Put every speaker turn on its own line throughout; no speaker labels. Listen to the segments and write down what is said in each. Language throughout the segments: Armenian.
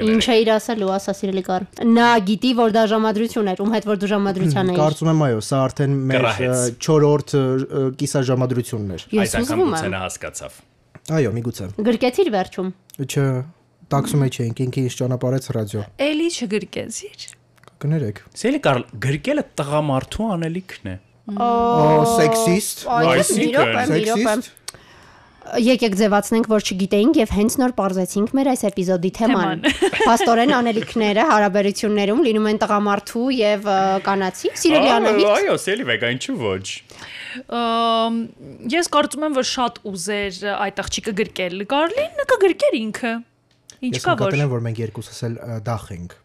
Ինչ է իր ասելու, ասա սիրելի կար։ Նա գիտի, որ դա ժամադրություն էր, ում հետ որ դու ժամադրության էիր։
Կարծում եմ այո, սա արդեն մեր
Կռահեց։
4-րդ կիսաժամադրությունն էր։
Ես
Այս
ուզում եմ։
անգամ գուցե նա հասկացավ։
Այո, միգուցե։
Գրկեցիր վերջում։
Չէ, տաքսում էի չենք, ինքը ինձ ճանապարհեց ռադիո։
Էլի չգրկեցիր։
Կներեք։
Սելի կարլ գրկելը տղամարդու անելիքն է։
Օ, սեքսիստ։
Այս
Այսինքն,
իրոք եմ, իրոք եմ։
Սեքսիստ։
Եկեք ձևացնենք, որ չգիտեինք եւ հենց նոր բարձեցինք մեր այս էպիզոդի թեման։ Պաստորեն անելիքները հարաբերություններում լինում են տղամարդու եւ ը, կանացի։ Սիրելի
Ա,
Անահիտ,
Այո, սելի վեգա, ինչու ոչ։
Ամ, Ես կարծում եմ, որ շատ ուզեր այդ աղջիկը գրկել։ Կարլին կգրկեր ինքը։ Ինչ
Ես
կա որ։
նկատել եմ, որ մենք երկուսս էլ ա, դախ ենք։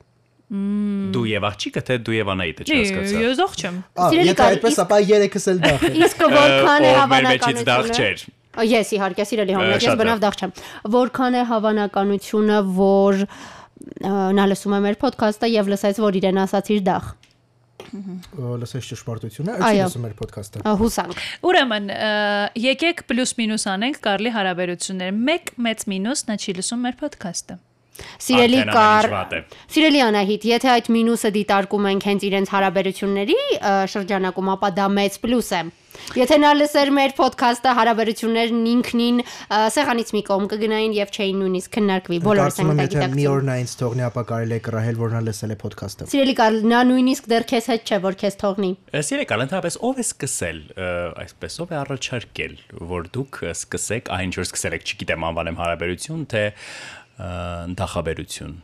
Դու եւ աղջիկը թե դու եւ Անահիտը
Նի,
չհասկացա։
Ես ողջ եմ։
Ա,
Սիրելի
եթե
Կարլ,
այդպես, ապա երեքս էլ դախ ենք։
իսկ որքան է
Ով մեր մեջից դախ
հավանականությունը։
չէր։
Ա, Ես իհարկե սիրելի
Ա,
համակ,
շատ
ես բնավ դաղ չեմ։ Որքան է հավանականությունը, որ ը, նա լսում է մեր ոդքասթը եւ լսեց, որ իրեն ասացիր դախ։
Ա, Լսես ճշմարտությունը,
Այո։
այո, լսում մեր ոդքասթը։
Ա, Հուսանք։
Ուրեմն, ը, եկեք պլյուս մինուս անենք Կարլի հարաբերությունները։ Մեկ մեծ մինուս նա չի լսում մեր ոդքասթը։
Սիրելի
Արդեն
կար։
ամեն ինչ վատ է։
Սիրելի Անահիտ, եթե այդ մինուսը դիտարկում ենք հենց իրենց հարաբերությունների ը, շրջանակում, ապա դա մեծ պլյուս է։ Եթե նա լսեր մեր ոդքասթը հարաբերություններն ինքնին ը, սեղանից մի կողմ կգնային եւ չէին նույնիսկ քննարկվի։ Բոլորս ենք դա
Կարծում եմ, եթե մի
գիտակցում։
օր նա ինձ թողնի, ապա կարելի է կռահել, որ նա լսել է ոդքասթը։
Սիրելի կար, նա նույնիսկ դեռ քեզ հետ չէ, որ քեզ թողնի։
Սիրելի կարլ, ընդհանրապես ով է սկսել, ը, այսպես ով է առաջարկել, որ դուք սկսեք այն ինչ որ սկսել եք, չգիտեմ, անվանեմ հարաբերություն թե ը, դախաբերություն։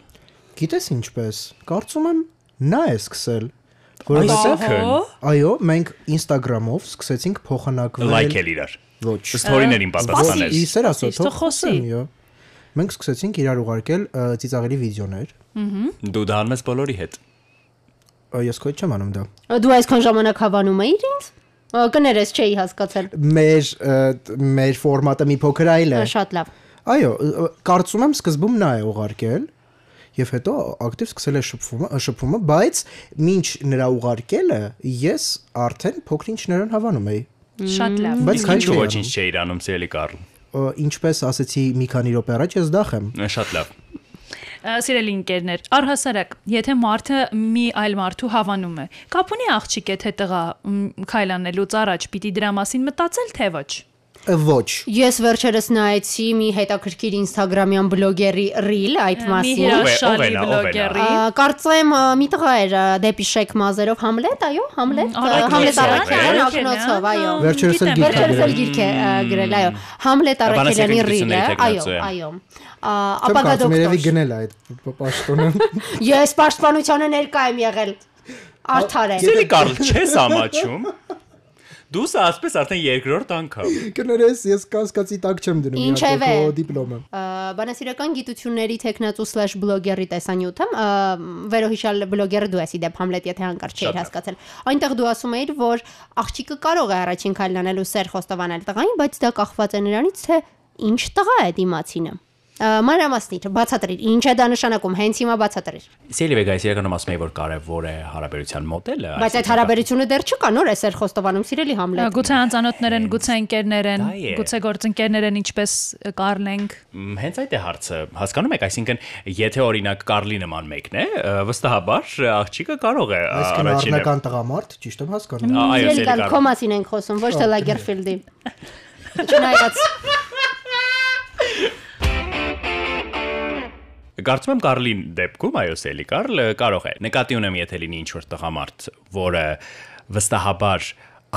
Գիտես ինչպես։ Կարծում եմ նա է սկսել, որովհետև
Այսինքն,
այո, մենք Instagram-ով սկսեցինք փոխանակվել
լայքել իրար։
Ոչ։
Ստորիներին պատասխանել։
Սպասի։
Իսեր ասո,
Իսկ խոսի։
Այո։ Մենք սկսեցինք իրար ուղարկել ա, ծիծաղելի վիդեոներ։
Դու դա անում ես բոլորի հետ։
Ա, Ես քո հետ չեմ անում դա։
Դու այսքան ժամանակ հավանում էիր ինձ։ Ա, Կներես, չէի հասկացել։
Դե։ Մեր ա, տ- մեր ֆորմատը մի փոքր այլ է։
Ա, Շատ լավ։
Այո, ա, կարծում եմ սկզբում նա է ուղարկել։ Եվ հետո ակտիվ սկսել է շփումը, ա, շփումը, բայց ինչ նրա ուղարկելը ես արդեն փոքրինչ նրան հավանում էի։
Շատ լավ։
Բայց քան չէի
Ինչու
անում։
ոչինչ չէիր անում, սիրելի կարլ։
Ա, ինչպես ասեցի մի քանի րոպե առաջ ես դախ եմ
Շատ լավ։
Ա, Սիրելի ինկերներ, առհասարակ, եթե մարդը մի այլ մարդու հավանում է, կապ ունի աղջիկ է թե տղա մ, քայլանելուց առաջ պիտի դրա մասին մտածել թե ոչ։
Ա, ոչ
Ես վերջերս նայեցի մի հետաքրքիր Instagram-յան բլոգերի reel այդ
Մի
մասին։
Ով է
հրաշալի
նա, ով է նա?
բլոգերի։
Ա, Կարծեմ ա, մի տղա էր ա, դեպի Շեք Մազերով Համլետ, այո, Համլետ, ա,
Առաքինով,
Համլետ Արաքելյան ակնոցով, այո։ Վերջերս էլ գիրք է ա, գրել, այո։ Համլետ Արաքելյանի ռիլը, այո, այո։ Ա, Ապագա
Վերջերս էլ գիրք է Չեմ
Բանասիրական գիտությունների թեկնածու է։
Առաքելյան, ա, գիտեմ,
կարծում երևի
դոկտոր։
գնել է այդ п- պաշտոնը
Ես պաշտպանությանը ներկա եմ եղել։ Արդար է։
Սիրելի Կարլ, չես ամաչում։ Դու սա ասպես արդեն երկրորդ անգամ։
կներես ես կասկածի տակ չեմ դնում
Ինչևէ։
իրականում քո դիպլոմը
Ա, բանասիրական գիտությունների տեխնացու/բլոգերի տեսանյութը ա, վերոհիշալ բլոգերը դու ես իդեպ Համլետ եթե հանկարծ չէիր հասկացել այնտեղ դու ասում էիր որ աղջիկը կարող է առաջին քայլանելու սեր խոստովանել տղային բայց դա կախված է նրանից թե ինչ տղա է դիմացինը Ա, մանրամասնիր բացատրիր ինչ է դա նշանակում հենց հիմա բացատրիր
Սիրելի վեգա, ես իրականում ասում եմ, որ կարևոր է հարաբերության մոդելը։
բայց այդ հարաբերությունը դեռ չկա նոր է սեր խոստովանում սիրելի
Ա,
Համլետ
Գուցե անծանոթներ են, գուցե ընկերներ են,
Դա է։
գուցե գործընկերներ են, ինչպես Կարլենք։
Մ, հա- Հենց այդ է հարցը։ Հասկանում եք, այսինքն, եթե օրինակ Կարլի նման մեկն է, ը, վստահաբար աղջիկը կարող է ա,
այսքան
առաջինը։
առնական տղամարդ ճիշտ եմ հասկանում
Ա, Այո,
Իրեն
սիրելի
կան
Կարլ։
կոմասին ենք խոսում, ոչ թե Լագերֆիլդի։ Չնայած
Կարծում եմ Կարլին դեպքում, այո, սիրելի Կարլ, ը, կարող է։ Նկատի ունեմ, եթե լինի ինչ-որ տղամարդ, որը վստահաբար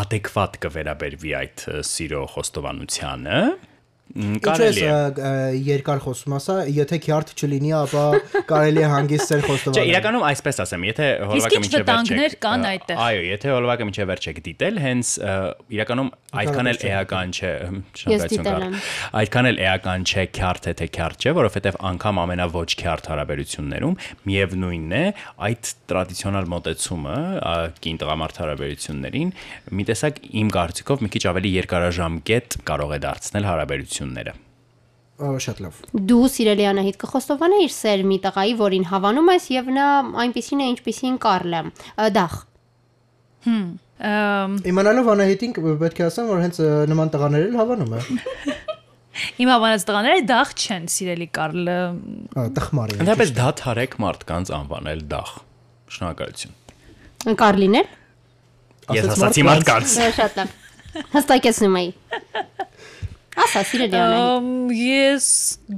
ադեկվատ կվերաբերվի այդ ը, սիրո խոստովանությանը, մ,
Ինչպես
կարելի է։
երկար խոսում ասա եթե քյարթ չլինի ապա կարելի է հանգիստ ծեր
Չէ,
խոստովանել
իրականում այսպես ասեմ, եթե հոլովակը միջև վերջ
ինչ վտանգներ
եք,
կան
ա,
այդտեղ։
Այո, եթե հոլովակը միջև վերջ եք դիտել, հենց ա, իրականում այդքան էլ էական չէ, հմ,
դիտել
շնորհակալություն կար։
եմ։
Այդքան էլ էական չէ քյարթ է թե քյարթ չէ, որովհետև անգամ ամենաոչ քյարթ հարաբերություններում միևնույնն է այդ տրադիցիոնալ մոտեցումը ա, կին տղամարդ հարաբերություններին մի տեսակ իմ կարծիքով մի քիչ ավելի երկարաժամկետ կարող է դարձնել հարաբերությունները։
Ա, շատ լավ
Դու սիրելի Անահիտ կխոստովանեիր սեր մի տղայի, որին հավանում ես եւ նա այնպիսին է, ինչպիսին Կարլը։ Ա, Դախ։
Ամ,
իմանալով անահիտին կ- պետք է ասեմ որ հենց ա, նման տղաներ էլ հավանում է
իմ հավանած տղաները դախ չեն, սիրելի Կարլը։
Ա, տխմարի։ է։
Ընդհանրապես դա թարեք մարդկանց անվանել դախ։ Շնորհակալություն։
Կարլիներ։
Ես
Ասաց
ասացի մարդկանց։
Դա շատ լավ։ Հստակեցնում էի։ Ասա, սիրելի Անահիտ։
Ամ, Ես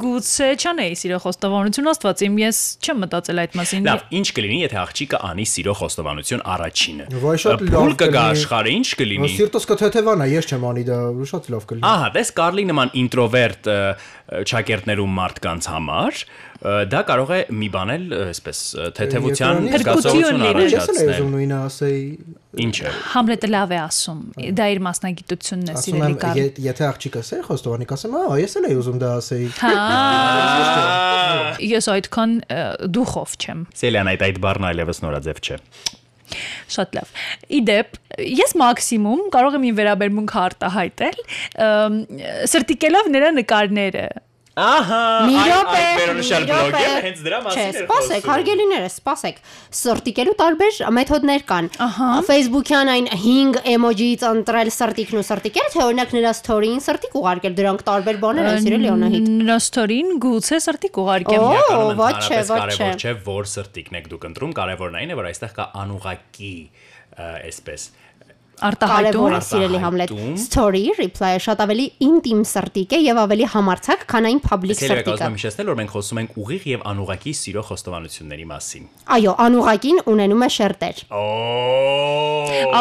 գուցե չանեի սիրո խոստովանություն Աստված իմ, ես չեմ մտածել այդ մասին։
Լավ, ինչ կլինի, եթե աղջիկը անի սիրո խոստովանություն առաջինը։
Ոայ, շատ լավ
Փուլ կգա
կլինի։
աշխարհը, ինչ
Ա,
կլինի։
Սիրտս կթեթևանա, ես չեմ անի դա, շատ լավ կլինի։
Ահա, դες Կարլի նման ինտրովերտ ը, ը, ճակերտներում մարդկանց համար ը, դա կարող է մի բանել, ը, այսպես ը, թեթևության
Երկրորդ
զգացողություն
Փրկություն
Ես էլ եմ ուզում
առաջացնել։
լինի։
նույնը ասեի։
Ինչ է։
Համլետը լավ է ասում։ Դա իր մասնագիտությունն է,
Ասում եմ,
սիրելի Կարլ։
եթ- եթե աղջիկը ասեր խոստովանի, կասեմ, ահա, ես էլ էի ուզում դա ասեի։
Ես այդքան ը, դուխով չեմ։
Սելյան այդ այդ բառն այլևս նորաձև չէ։
Շատ լավ։ Իդեպ, ես մաքսիմում կարող եմ իմ վերաբերմունքը արտահայտել, ըմ, սրտիկելով նրա նկարները։
Ահա,
Մի րոպե,
վերոնշյալ
մի րոպե։
բլոգը հենց դրա
Չէ,
մասին էր
սպասեք, հարգելիները, սպասեք։ Սրտիկելու տարբեր մեթոդներ կան։
Ահա։
Facebook-յան այն 5 էմոջիից ընտրել սրտիկն ու սրտիկերը, թե օրինակ նրա story-ին սրտիկ ուղարկել, դրանք տարբեր բաներ են, սիրելի Անահիտ։
Նրա ստորին գուցե սրտիկ
Օ,
ուղարկեմ։
Ո, ոչ չէ, ոչ
կարևոր
չէ։
չէ, որ սրտիկն եք դուք ընտրում, կարևորն այն է, որ այստեղ կա անուղակի ը, այսպես
Կարևոր
Արտահայտում։
է սիրելի Համլետ։
Արտահայտում։
Story reply-ը շատ ավելի ինտիմ սրտիկ է եւ ավելի համարցակ, քան այն public
Սերիա
սրտիկը։
կազմում հիշեցնել, որ մենք խոսում ենք ուղիղ եւ անուղակի սիրո խոստովանությունների մասին։
Այո, անուղակին ունենում է շերտեր։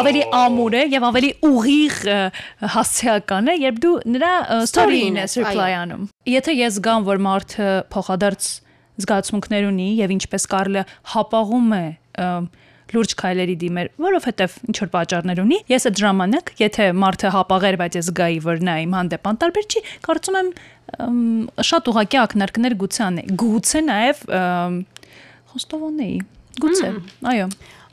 Ավելի ամուր է եւ ավելի ուղիղ ը, հասցեական է, երբ դու նրա ը,
Ստորին
ստորին ես
ես,
reply-անում։ Եթե ես զգամ, որ մարդը փոխադարձ զգացմունքներ ունի եւ ինչպես Կարլը հապաղում է ը, լուրջ քայլերի դիմեր, որովհետեւ ինչ որ պատճառներ ունի, ես այդ ժամանակ, եթե մարդը հապաղեր, բայց ես զգայի, որ նա իմ հանդեպ անտարբեր չի, կարծում եմ ըմ, շատ ուղակի ակնարկներ գուցե անե։ Գուցե նաեւ ըմ, խոստովանեի։ Գուցե։ Այո։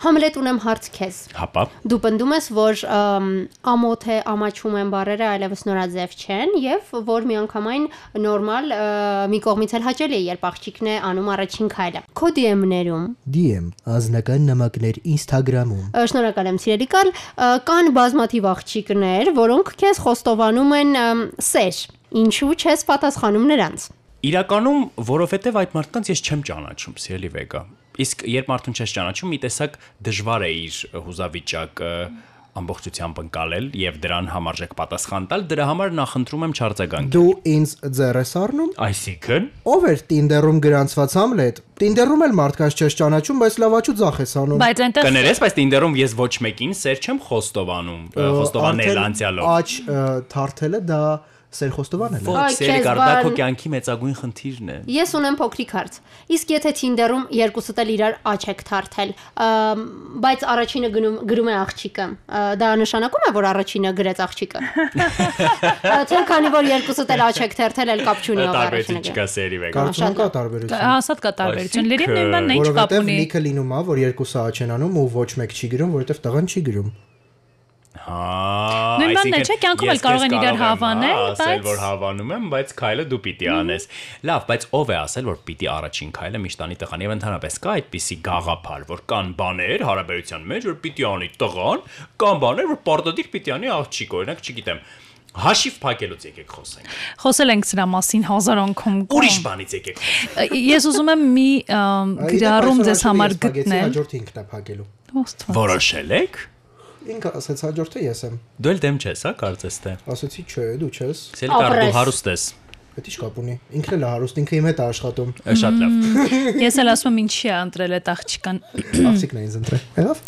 Համլետ ունեմ հարց քեզ։
Հապա։
Դու պնդում ես, որ ըմ, ամոթ է, ամաչում են բարերը, այլևս նորաձև չեն եւ որ միանգամայն նորմալ ը, մի կողմից էլ հաճելի է, երբ աղջիկն է անում առաջին քայլը։ Քո DM-ներում
DM, անձնական նամակներ Instagram-ում։
Ա, Շնորհակալ եմ Սիրելի Կարլ, Ա, կան բազմաթիվ աղջիկներ, որոնք քեզ խոստովանում են ըմ, սեր։ Ինչու չես պատասխանում նրանց։
Իրականում, որովհետեւ այդ մարդկանց ես չեմ ճանաչում, սիրելի Վեգա։ Իսկ երբ մարդուն չես ճանաչում, մի տեսակ դժվար է իր հուզավիճակը ամբողջությամբ ընկալել եւ դրան համարժեք պատասխան տալ, դրա համար նախընտրում եմ չարձագանք։
Դու ինձ ձեռես առնում։
Այսինքն,
Ով էր Tinder-ում գրանցված Համլետ։ Tinder-ում էլ մարդկանց չես ճանաչում, բայց լավաճու ձախ ես անում։
Բայց այնտեղ
կներես, բայց Tinder-ում ես ոչ մեկին սեր չեմ խոստովանում, ը, խոստովանել
Արդեն
անցյալով։
Աչ ը, թարթելը դա սեր խոստովանելն է։
Ոչ,
Այ,
սիրելի
քեզ
Կարլ, դա
բան-
քո կյանքի մեծագույն խնդիրն է։
Ես ունեմ փոքրիկ հարց։ Իսկ եթե Tinder-ում երկուսդ էլ իրար աչ եք թարթել, ըմ, բայց առաջինը գնում գրում է աղջիկը, ը, դա նշանակում է, որ առաջինը գրեց աղջիկը։ Ա, Թե քանի որ երկուսդ էլ աչ եք թարթել, էլ կապ չունի ով
Տարբերություն
առաջինը։ գրել։
չկա սերի վեգա։
Կարծում եմ կա տարբերություն։
ասած կա տարբերություն։ Լերին
Այսինքն,
նույնն է, ինչ կապ
Որովհետև
ունի։
լիքը լինում է, որ երկուսը աչ են անում ու ոչ մեկ չի գրում, որովհետև տղան չի գրում։
Հա։
Նույնն է,
այսինքն
դե չէ, կյանքում էլ
ես
կարող
քեզ
են
կարող եմ,
իրար հավանել,
հա, ասել,
բայց-
որ հավանում եմ, բայց քայլը դու պիտի անես։ Լավ, բայց ով է ասել, որ պիտի առաջին քայլը միշտ անի տղան եւ ընդհանրապես կա այդպիսի գաղափար, որ կան բաներ հարաբերության մեջ, որ պիտի անի տղան, կան բաներ, որ պարտադիր պիտի անի աղջիկը, օրինակ, չգիտեմ, հաշիվ փակելուց եկեք խոսենք։
Խոսել ենք սրա մասին հազարոնքում։ կա։
Ուրիշ բանից եկեք։ խոսենք։
Ես ուզում եմ մի ամ,
Այ, իդեպ,
գրառում
այսօր
ձեզ
հաջորդ
համար
ես պագեցի,
գտնել։
Հաջորդը ինքն է փակելու։
Ոստվա։
Որոշել եք։
Ինքը ասաց հաջորդը ես եմ։
Դու էլ դեմ չես, հա, կարծես թե։
Ասացի, չէ, դու չես։
Սել կար դու
Ապրես։
հարուստ ես։
Դա ի՞նչ կապ ունի։ Ինքն էլ է հարուստ, ինքը իմ հետ է աշխատում։
Ա, Շատ լավ։
Ես էլ ասում եմ ինչի է ընտրել այդ աղջկան։
Աղջիկն է ինձ ընտրել։ Լավ։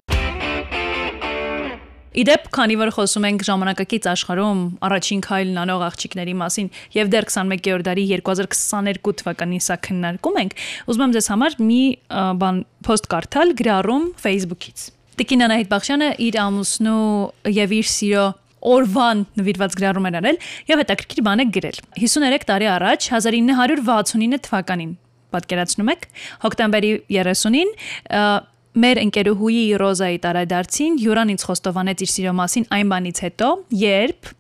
Իդեպ, քանի որ խոսում ենք ժամանակակից աշխարհում առաջին քայլն անող աղջիկների մասին եւ դեռ 21-րդ դարի 2022 թվականին սա քննարկում ենք, ուզում եմ ձեզ համար մի ա, բան post կարդալ գրառում Facebook-ից։ Տիկին Անահիտ Բախշյանը իր ամուսնու եւ իր սիրո օրվան նվիրված գրառում էր արել եւ հետաքրքիր բան է գրել։ 53 տարի առաջ 1969 թվականին պատկերացնում եք հոկտեմբերի 30-ին ը, մեր ընկերուհուի Ռոզայի տարեդարձին Յուրան ինձ խոստովանեց իր սիրո մասին այն բանից հետո, երբ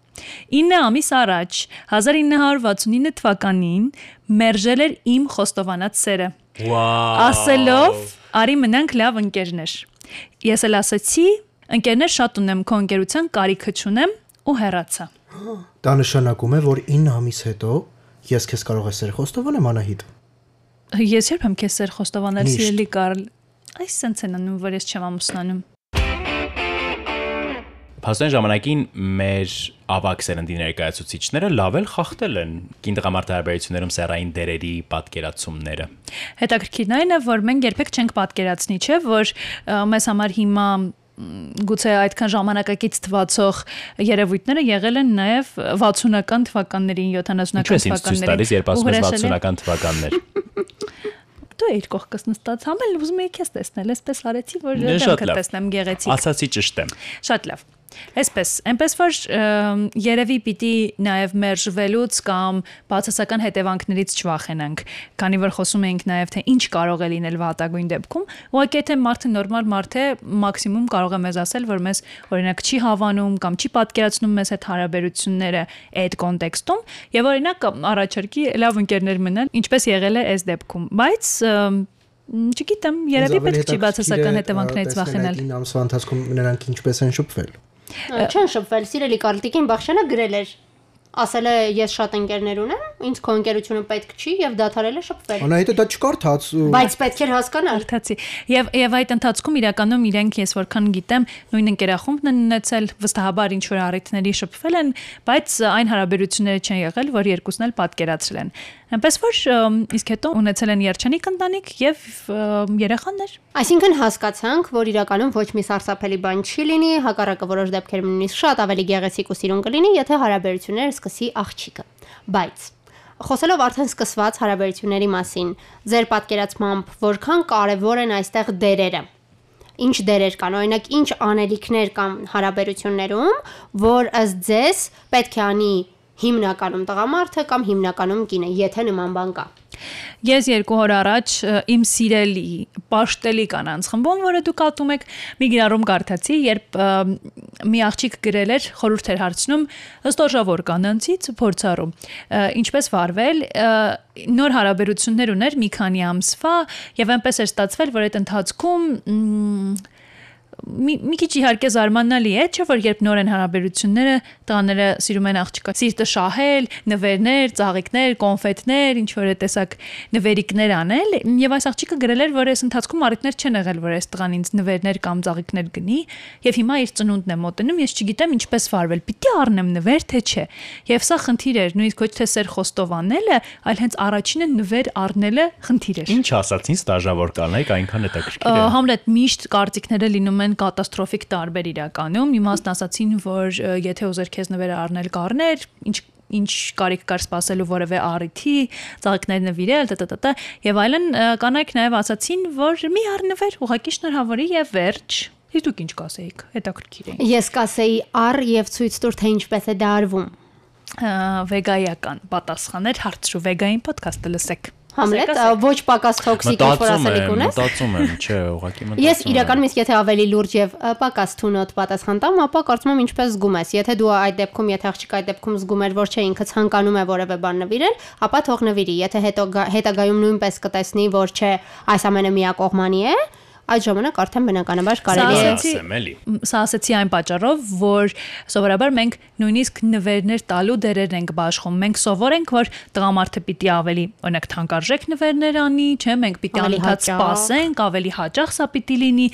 9 ամիս առաջ 1969 թվականին մերժել էր իմ խոստովանած սերը,
Վաո։
ասելով՝ «Արի մնանք լավ ընկերներ»։ Ես էլ ասացի՝ «Ընկերներ շատ ունեմ, քո ընկերության կարիքը չունեմ» ու հեռացա։
Դա նշանակում է, որ 9 ամիս հետո Ես քեզ կարող ես սեր խոստովան եմ Անահիտ։
Ես երբ եմ քեզ սեր խոստովանել,
Միշտ։
սիրելի Կարլ, այս sense-ն է ննում, որ ես չեմ ամուսնանում։
Փաստորեն ժամանակին մեր ավակ սերնդի ներկայացուցիչները լավ էլ խախտել են կինտղամարտահարաբերություններում սերային դերերի պատկերացումները։
Հետաքրքիրն այն է, որ մենք երբեք չենք պատկերացնի, չէ, որ ը, մեզ համար հիմա մ, գուցե այդքան ժամանակակից թվացող երևույթները եղել են նաև 60-ական թվականներին, 70-ական
Ինչու՞ ես ինձ ցույց
թվականներին։
տալիս, երբ
ու
ասում ես
հրաշալի է,
60-ական թվականներ։
Դու էիր կողքս նստած, համ էլ ուզում էի քեզ տեսնել, այսպես արեցի, որ
Դե, շատ
դեմքը
լավ։
տեսնեմ գեղեցիկ։
Ասացի ճշտ եմ։
Շատ լավ։ Այսպես, այնպես որ ըմ, երևի պիտի նաև մերժվելուց կամ բացասական հետևանքներից չվախենանք, քանի որ խոսում ենք նաև թե ինչ կարող է լինել վատագույն դեպքում, ուղղակի եթե մարդը նորմալ մարդ է, մաքսիմում կարող է մեզ ասել, որ մեզ օրինակ չի հավանում կամ չի պատկերացնում մեզ այդ հարաբերությունները այդ կոնտեքստում, եւ օրինակ առաջարկի լավ ընկերներ մնան, ինչպես եղել է այս դեպքում։ Բայց ըմ, չգիտեմ, երևի պետք չի բացասական հետևանքներից վախենալ։
9 ամսվա ընթացքում նրանք ինչպես են շփվել։
Չեն շփվել, սիրելի Կարլտիկին Բախշյանը գրել էր։ Ասել է ես շատ ընկերներ ունեմ, ինձ քո ընկերությունը պետք չի եւ դադարել է շփվել։
Անահիտը դա չկարդաց ու
Բայց պետք էր հասկանալ։
հարթացի։ Եվ եւ այդ ընթացքում իրականում իրենք ես որքան գիտեմ նույն ընկերախումբն են ունեցել, վստահաբար ինչ որ առիթների շփվել են, բայց այն հարաբերությունները չեն եղել, որ երկուսն էլ պատկերացրել են։ Այնպես որ ըմ, իսկ հետո ունեցել են երջանիկ ընտանիք եւ ըմ, երեխաներ։
Այսինքն հասկացանք, որ իրականում ոչ մի սարսափելի բան չի լինի, հակառակը որոշ դեպքերում նույնիսկ շատ ավելի գեղեցիկ ու սիրուն կլինի, եթե հարաբերությունները սկսի աղջիկը։ Բայց Խոսելով արդեն սկսված հարաբերությունների մասին, ձեր պատկերացմամբ որքան կարևոր են այստեղ դերերը։ Ինչ դերեր կան, օրինակ ինչ անելիքներ կան հարաբերություններում, որ ըստ ձեզ պետք է անի հիմնականում տղամարդը կամ հիմնականում կինը, եթե նման բան կա։
Ես երկու օր առաջ ը, իմ սիրելի պաշտելի կանանց խմբում, որը դուք ատում եք, մի գրառում կարդացի, երբ ը, մի աղջիկ գրել էր, խորհուրդ էր հարցնում ըստ օրժավոր կանանցից փորձառու, ը, ինչպես վարվել, ը, նոր հարաբերություններ ուներ մի քանի ամսվա եւ այնպես էր ստացվել, որ այդ ընթացքում մ, մի մի քիչ իհարկե զարմանալի է, չէ՞ որ երբ նոր են հարաբերությունները, տաները սիրում են աղջկա։ Սիրտը շահել, նվերներ, ծաղիկներ, կոնֆետներ, ինչ որ է տեսակ նվերիկներ անել, եւ այս աղջիկը գրել էր, որ այս ընթացքում առիթներ չեն եղել, որ այս տղան ինձ նվերներ կամ ծաղիկներ գնի, եւ հիմա իր ծնունդն է մոտենում, ես չգիտեմ ինչպես վարվել։ Պիտի առնեմ նվեր թե չէ։ Եվ սա խնդիր էր, նույնիսկ ոչ թե սեր խոստովանելը, այլ հենց առաջինը նվեր առնելը խնդիր էր։
Ինչ ասացին ստաժավոր կանայք, այնքան հետաքրքիր է։
Համլետ միշտ կարծիքները լինում են կատաստրոֆիկ տարբեր իրականում։ Մի մասն ասացին, որ ը, եթե ուզեր քեզ նվերը առնել կառներ, ինչ ինչ կարիք կար սпасելու որևէ առիթի, ծաղիկներ նվիրել, տտտտ եւ այլն ը, կանայք նաեւ ասացին, որ մի առնվեր ուղակի շնորհավորի եւ վերջ։ Իսկ դուք ինչ կասեիք։ Հետաքրքիր է։
Ես կասեի առ եւ ցույց տուր թե ինչպես է դա արվում։
Ա, Վեգայական պատասխաներ հարցրու վեգային ոդքասթը լսեք։
Համլետ
Ասեք,
ա, ոչ պակաս տոքսիկ ինչ-որ ասելիք ունես։
մտածում եմ, չէ, ուղղակի մտածում եմ։
Ես իրականում իսկ եթե ավելի լուրջ եւ ա, պակաս թունոտ պատասխան տամ, ապա կարծում եմ ինչպես զգում ես։ Եթե դու այդ դեպքում, եթե աղջիկը այդ դեպքում զգում էր, որ չէ ինքը ցանկանում է որևէ բան նվիրել, ապա թող նվիրի։ Եթե հետո գա- հետագայում նույնպես կտեսնի, որ չէ, այս ամենը միակողմանի է, այդ ժամանակ արդեն բնականաբար կարելի է
Սա-
Ասեցի- ասեմ, էլի։
Մ, սա ասացի այն պատճառով, որ սովորաբար մենք նույնիսկ նվերներ տալու դերեր ենք բաշխում։ Մենք սովոր ենք, որ տղամարդը պիտի ավելի, օրինակ, թանկարժեք նվերներ անի, չէ՞, մենք պիտի
Ավելի
անընդհատ
հաճախ։
սպասենք, ավելի հաճախ սա պիտի լինի,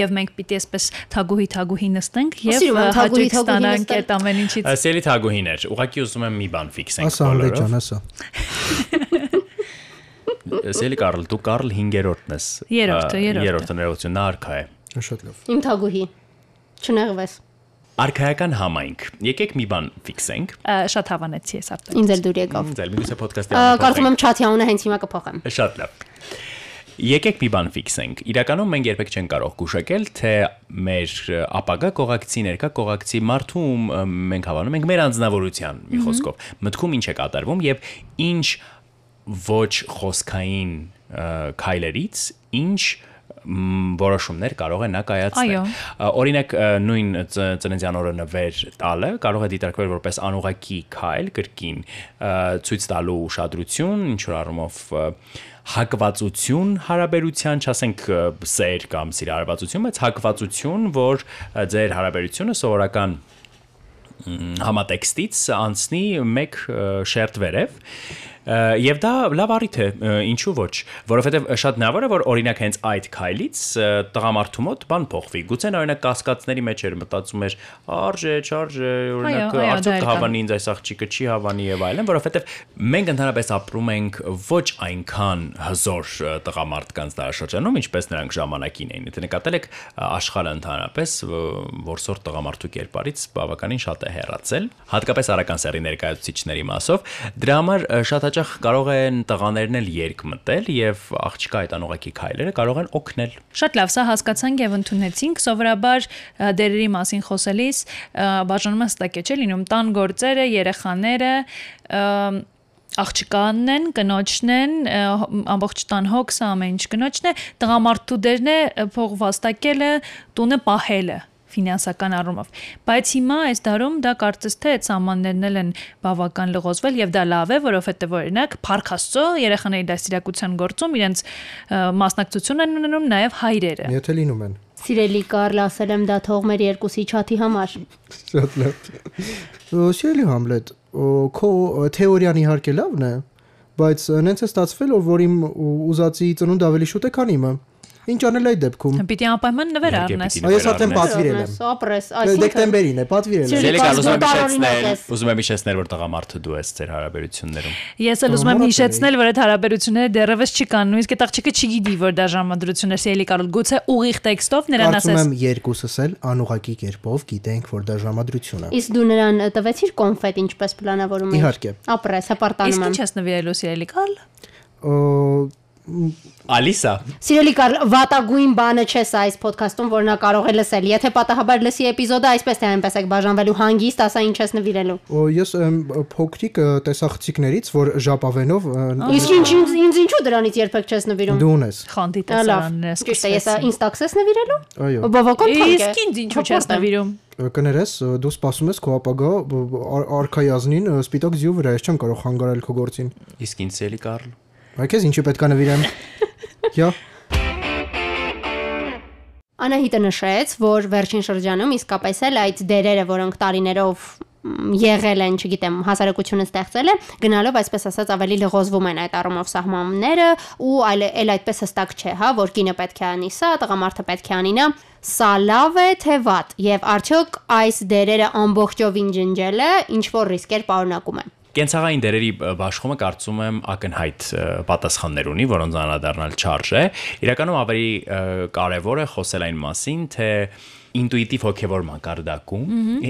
եւ մենք պիտի այսպես թագուհի թագուհի նստենք եւ
Սիրում եմ
ա,
թագուհի,
հաճույք
թագուհի
ստանանք
նստել։
այդ ամեն ինչից։
Ասելի թագուհիներ, ուղղակի ուզում եմ մի բան ֆիքսենք
ասա Անահիտ ջան,
բոլորով։
ասա։
Ասելի Կարլ, դու Կարլ 5-րդն ես։
Երրորդը,
Ա,
երրորդը։
Երրորդը ներողություն, նա արքա է։
Շատ լավ։
իմ թագուհի։ Չնեղվես։
Արքայական համայնք։ Եկեք մի բան ֆիքսենք։
Ա, Շատ հավանեցի ես արդեն։
Ինձ էլ դուր եկավ։
Ձեր միգուցե ոդկասթի
Ա, Կարծում եմ չաթի անունը հենց հիմա կփոխեմ։
Շատ լավ։ Եկեք մի բան ֆիքսենք։ Իրականում մենք երբեք չենք կարող գուշակել, թե մեր ապագա կողակցի, ներկա կողակցի մարդում ը, մենք հավանում ենք մեր անձնավորության, մի խոսքով, մտքում ինչ է կատարվում եւ ինչ ոչ խոսքային ը, քայլերից ինչ մ, որոշումներ կարող է նա կայացնել։
Այո։
Ա, Օրինակ ա, նույն ծ- ծննդյան օրը նվեր տալը կարող է դիտարկվել որպես անուղակի քայլ կրկին ա, ցույց տալու ուշադրություն, ինչ որ առումով ա, հակվածություն հարաբերության, չասենք ա, սեր կամ սիրահարվածություն, բայց հակվածություն, որ ա, ձեր հարաբերությունը սովորական համատեքստից անցնի մեկ ը, շերտ վերև ը, եւ դա լավ առիթ է ը, ինչու ոչ որովհետեւ շատ հնարավոր է որ օրինակ հենց այդ քայլից ը, տղամարդու մոտ բան փոխվի գուցե նա օրինակ կասկածների մեջ էր մտածում էր արժե չարժե օրինակ
այո, դա էլ
արդյոք
կա։
հավանի ինձ այս աղջիկը չի հավանի եւ այլն որովհետեւ մենք ընդհանրապես ապրում ենք ոչ այնքան հզոր ը, տղամարդկանց դարաշրջանում ինչպես նրանք ժամանակին էին եթե նկատել եք ը, աշխարհը ընդհանրապես ը, որսոր տղամարդու կերպարից բավականին շատ է հեռացել, հատկապես արական սերի ներկայացուցիչների մասով։ Դրա համար ը, շատ հաճախ կարող են տղաներն էլ երկ մտել եւ աղջկա այդ անողակի քայլերը կարող են օգնել։
Շատ լավ, սա հասկացանք եւ ընդունեցինք։ Սովորաբար ա, դերերի մասին խոսելիս ա, բաժանում է ստակե չէ լինում տան գործերը, երեխաները, ամ, աղջկանն են, կնոջն են, ա, հ- ամբողջ տան հոգսը ամեն ինչ կնոջն է, տղամարդու դերն է ա, փող վաստակելը, տունը պահելը ֆինանսական առումով։ Բայց հիմա այս դարում դա կարծես թե այդ սահմաններն էլ են բավական լղոզվել եւ դա լավ է, որովհետեւ օրինակ Փարք Աստծո երեխաների դասիրակության գործում իրենց ը, մասնակցություն են ունենում նաեւ հայրերը։
Եթե լինում են։
Սիրելի Կարլ, ասել եմ դա թող մեր երկուսի չաթի համար։
Շատ լավ։ Ո, Սիրելի Համլետ, ո, քո թեորիան իհարկե լավն է, բայց նենց է ստացվել, որ իմ ու- ուզածի ծնունդ ավելի շուտ է, քան իմը։ Ինչ անել այդ դեպքում։
Պիտի անպայման նվեր
Իհարկե,
առնես։
պիտի
Այս արդեն
վերառնես։
պատվիրել եմ։ Դե-
Սոպրես, այսինքն
Դեկտեմբերին է, պատվիրել եմ։
Սիրելի
Ելեկան ուզում եմ
Կազմո
հիշեցնել,
տարօրինակ ես։
ուզում եմ հիշեցնել, որ տղամարդը դու ես ծեր հարաբերություններում։
Ես էլ ուզում
Մոռացել
եմ
էի։
հիշեցնել, որ այդ հարաբերությունները դեռևս չի կան, նույնիսկ այդ աղջիկը չգիտի, որ դա ժամադրություն է, սիրելի Կարլ, գուցե ուղիղ տեքստով նրան
Կարծում
ասես։
եմ երկուսս էլ անուղակի կերպով գիտենք, որ դա ժամադրություն է։
Իս դու նրան տվեցիր կոնֆետ ինչպես պլանավորում էիր։
Իհարկե։
Ապրես, հպարտանում
Իսկ
եմ։
ինչ ես նվիրելու սիրելի Կարլ։
Ո,
Ալիսա,
Սիրելի Կարլ, վատագույն բանը չես այս ոդքասթում, որ նա կարող է լսել։ Եթե պատահաբար լսի էպիզոդը, այսպես թե այնպես եք բաժանվելու հանգիստ, ասա ինչ ես նվիրելու։
ո, ես եմ փոքրիկ ը, տեսախցիկներից, որ ժապավենով ը,
Իսկ ինչ ինձ ինձ ինչու դրանից երբեք չես նվիրում։
դու ունես։
Խանդի
Ա, Լավ,
տեսարանն է։
ճիշտ է, ես ա- ինձ տաքսես նվիրելու։
Այո։
Բավական թանկ է։
Իսկ ինձ ինչու չես նվիրում։
Կներես, դու սպասում ես քո ապագա ը, ար- արքայազնին ը, սպիտակ ձյու վրա, ես չեմ կարող խանգարել քո գործին։
իսկ ինձ էլի Կարլ։
Բայց քեզ ինչի պետքա նվիրեմ։ Յա,
Անահիտը նշեց, որ վերջին շրջանում իսկապես էլ այդ դերերը, որոնք տարիներով մ, եղել են, չգիտեմ, հասարակությունը ստեղծել է, գնալով այսպես ասած ավելի լղոզվում են այդ առումով սահմանները ու այլ էլ այդպես հստակ չէ, հա, որ կինը պետք է անի սա, տղամարդը պետք է անի նա, սա լավ է թե վատ, եւ արդյոք այս դերերը ամբողջովին ջնջելը ինչ որ ռիսկեր պարունակում է։
Կենցաղային դերերի բ- բաշխումը կարծում եմ ակնհայտ ը, պատասխաններ ունի, որոնց անդրադառնալ չարժ է։ Իրականում ավելի ը, կարևոր է խոսել այն մասին, թե ինտուիտիվ հոգևոր մակարդակում,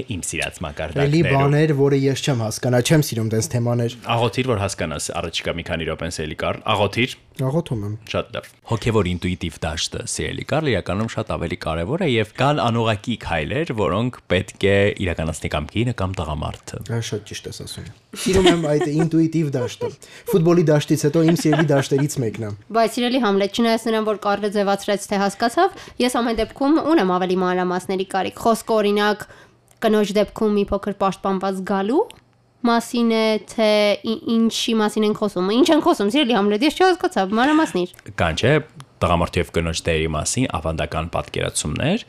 իմ սիրած
էլի
մակարդակներում
բաներ, որը ես չեմ հասկանա, չեմ սիրում դες թեմաներ։
աղոթիր, որ հասկանաս առաջիկա մի քանի րոպեն սելի կար, աղոթիր,
Աղոթում եմ։
շատ լավ։ Հոգևոր ինտուիտիվ դաշտը սիրելի կար, իրականում շատ ավելի կարևոր է եւ կան անողակի քայլեր, որոնք պետք է իրականացնի կամ կինը կամ տղամարդը։
Դա շատ ճիշտ ես ասում։ Սիրում եմ այդ ինտուիտիվ դաշտը։ Ֆուտբոլի դաշտից հետո իմ սիրելի դաշտերից մեկն է։
Բայց իրոք Համլետ չնայած նրան որ Կարլը ձևացրեց թե հասկացավ, ես ամեն դեպքում ունեմ ավելի մանրամասների կարիք։ Խոսքը օրինակ կնոջ դեպքում մի փոքր պաշտպանված գալու մասին է, թե ի- ինչի մասին են խոսում։ Ինչ են խոսում, իրոք Համլետ, ես չհասկացա, մանրամասներ։
կան չէ տղամարդու եւ կնոջ դերի մասին ավանդական պատկերացումներ,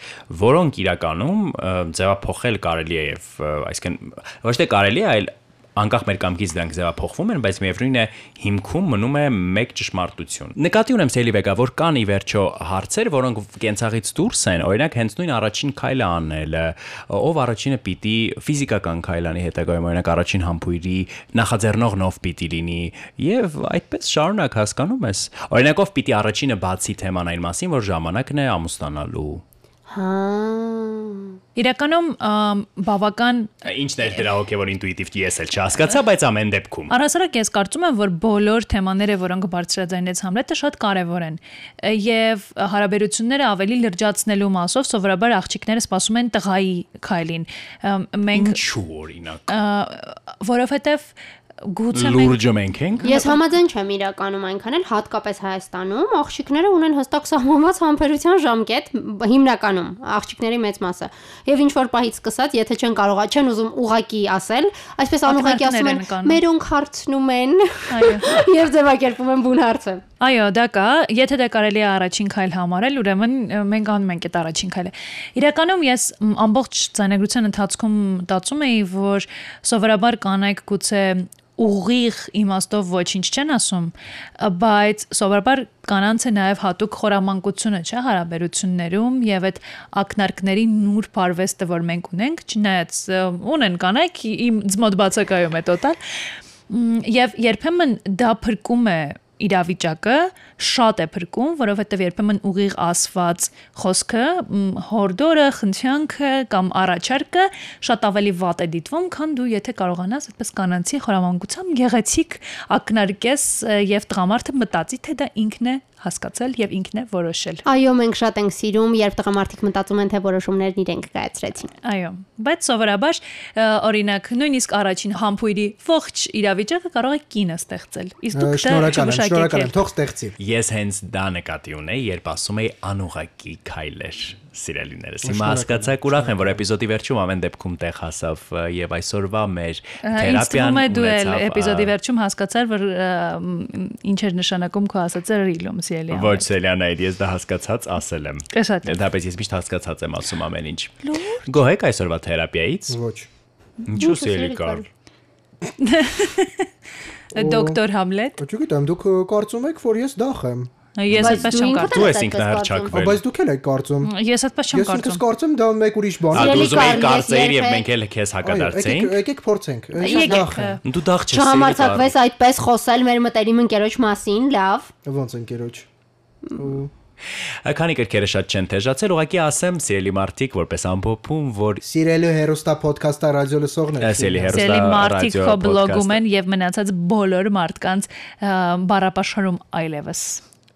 որոնք իրականում ը, ձևափոխել կարելի է եւ ը, այսինքն ոչ թե կարելի է, այլ անկախ մեր կամքից դրանք ձևափոխվում են, բայց միևնույն է հիմքում մնում է մեկ ճշմարտություն։ Նկատի ունեմ Սելի Վեգա, որ կան ի վերջո հարցեր, որոնք կենցաղից դուրս են, օրինակ հենց նույն առաջին քայլը անելը, ով առաջինը պիտի ֆիզիկական քայլանի հետագայում օրինակ առաջին համբույրի նախաձեռնողն ով պիտի լինի եւ այդպես շարունակ հասկանում ես։ Օրինակ ով պիտի առաջինը բացի թեման այն մասին, որ ժամանակն է ամուսնանալու։
Հա։
Իրականում ամ, բավական
Ինչն էր դրա հոգեոր ինտուիտիվ ես էլ չհասկացա, բայց ամեն դեպքում
Առասարակ ես կարծում եմ, որ բոլոր թեմաները, որոնք բարձրաձայնեց Համլետը, շատ կարևոր են։ Եվ հարաբերությունները ավելի լրջացնելու մասով սովորաբար աղջիկները սպասում են տղայի քայլին։ Ամ, Մենք
ինչու օրինակ
Ա, որովհետև գուցե մենք
լուրջը մենք ենք։
Ես համաձայն չեմ իրականում այնքան էլ հատկապես Հայաստանում աղջիկները ունեն հստակ սահմանված համբերության ժամկետ բ- հիմնականում աղջիկների մեծ մասը։ Եվ ինչ որ պահից սկսած, եթե չեն կարողա, չեն ուզում ուղակի ասել, այսպես անուղակի ասում
Ակնարկներ
են,
են անում։
մերոնք հարցնում են
այո
եւ ձևակերպում են բուն հարցը։
Այո, դա կա, եթե դա կարելի է առաջին քայլ համարել, ուրեմն ը, մենք անում ենք այդ առաջին քայլը։ Իրականում ես մ, ամբողջ ցանագրության ընթացքում մտածում էի, որ սովորաբար կանայք գուցե ուղիղ իմաստով ոչինչ չեն ասում, ը, բայց սովորաբար կանանց է նաև հատուկ խորամանկությունը, չէ, հարաբերություններում եւ այդ ակնարկների նուրբ արվեստը, որ մենք ունենք, չնայած ը, ունեն կանայք իմ ձմոտ բացակայում է տոտալ, Մ, Եվ երբեմն դա փրկում է իրավիճակը, շատ է փրկում, որովհետև երբեմն ուղիղ ասված խոսքը, մ, հորդորը, խնդրանքը կամ առաջարկը շատ ավելի վատ է դիտվում, քան դու եթե կարողանաս այդպես կանանցի խորամանկությամբ գեղեցիկ ակնարկես ը, եւ տղամարդը մտածի, թե դա ինքն է հասկացել եւ ինքն է որոշել։
Այո, մենք շատ ենք սիրում, երբ տղամարդիկ մտածում են, թե որոշումներն իրենք կայացրեցին։
Այո, բայց սովորաբար ը, օրինակ նույնիսկ առաջին համբույրի ողջ իրավիճակը կարող է կինը ստեղծել։ Իսկ դուք դա
Շնորհակալ եմ, շնորհակալ եմ,
չմշակեք։
թող ստեղծի։
Ես հենց դա նկատի ունեի, երբ ասում էի անուղակի քայլեր սիրելիներս։ Հիմա
Շնորհակալ
հասկացաք ուրախ եմ, որ էպիզոդի վերջում ամեն դեպքում տեղ հասավ ը, եւ այսօրվա մեր
Ինձ թվում
թերապիան
է դու էլ
ունեցավ, ա,
էպիզոդի վերջում հասկացար, որ ա, մ, ինչ էր նշանակում քո ասած ռիլում սիրելի։
Ոչ Սելյանը, այդ ես դա հասկացած ասել եմ։
Է, շատ լավ։
Դապես ես միշտ հասկացած եմ ասում ամեն ինչ։ Գոհեք այսօրվա թերապիայից։
Ոչ։
Ինչու
Ինչու
սիրելի
սիրելի
կար։
կար։
Դոկտոր Համլետ։
Ոչ գիտեմ, դուք ը, կարծում եք, որ ես դախ եմ։
Ես
Բայց
այդպես
դու
չեմ
ինքդ
կարծում։
ես այդպես
Ա,
Դու ես ինքնահարճակվել։
Բայց դուք էլ եք կարծում։
Ես այդպես չեմ
Ես ինքս
կարծում։
կարծում դա մեկ ուրիշ բան։
Սիրելի
է։
Ա դու ուզում ես
կար, ես
կարծեր եւ
երբեք-
մենք էլ քեզ
Այո, եկեք,
հակադարձեինք։
եկեք փորձենք։ Ես շատ
Եկեք
դախ եմ։
Դու դաղ չես։
Չհամարցակվես այդպես խոսել մեր մտերիմ ընկերոջ մասին, լավ։
Ոնց ընկերոջ։
Քանի կրկերը շատ չեն թեժացել, ուղղակի ասեմ, սիրելի մարդիկ, որպես ամփոփում, որ
Սիրելու հերոստա պոդքասթա ռադիո լսողներ։
Սիրելի հերոստա
Սելի մարդիկ
ռադիո
քո
պոդքասթը։
բլոգում են եւ մնացած բոլոր մարդկանց ա, բառապաշարում այլևս։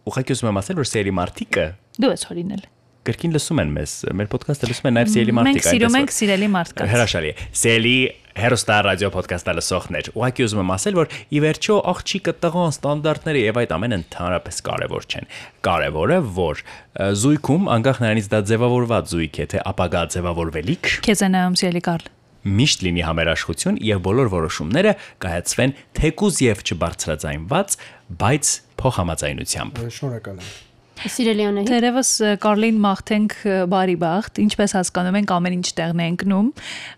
ուղղակի ուզում եմ ասել, որ սիրելի մարդիկը
Դու ես հորինել։
կրկին լսում են մեզ։ Մեր ոդքասթը լսում են նաև սիրելի
Մենք
մարդիկ
սիրում
այնպես
ենք սիրելի
որ-
մարդկանց։
Հրաշալի է։ Սիրելի հերոստա ռադիո ոդքասթը լսողներ, ուղղակի ուզում եմ ասել, որ ի վերջո աղջիկը տղան ստանդարտները եւ այդ ամենը ընդհանրապես կարեւոր չեն։ Կարեւորը, որ ը, զույգում անկախ նրանից դա ձևավորված զույգ է, թե ապագա ձևավորվելիք,
Քեզ է նայում սիրելի Կարլ։
միշտ լինի համերաշխություն եւ բոլոր որոշումները կայացվեն թեկուզ եւ չբարձրաձայնված, բայց փոխհամաձայնությամբ։
Շնորհակալ եմ։
Սիրելի Անահիտ,
Տերևս Կարլին մաղթենք ը, բարի բախտ, ինչպես հասկանում ենք ամեն ինչ տեղն է ընկնում,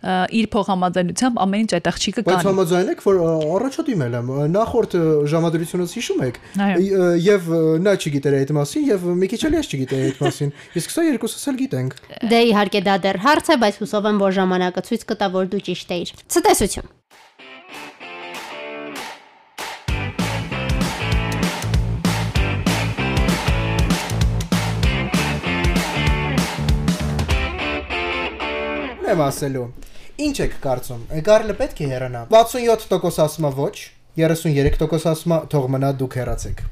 ը, իր փոխհամաձայնությամբ ամեն ինչ այդ աղջիկը
Բայց
կան։
համաձայնեք, որ ա, առաջադեմ եմ, ա, նախորդ ա, ժամադրությունից հիշում եք,
Այո։
ի- ա, եւ ա, նա չգիտեր այդ մասին, եւ մի քիչ էլ ես չգիտեի այդ մասին։ Իսկ սա երկուսս էլ գիտենք։
դե իհարկե դա դեռ հարց է, բայց հուսով եմ, որ ժամանակը ցույց կտա, որ դու ճիշտ էիր։ Ցտեսություն։
Ունեմ ասելու։ Ինչ եք կարծում։ Գարլը պետք է հեռանա։ 67% ասում է ոչ, 33% ասում է թող մնա դուք հեռացեք։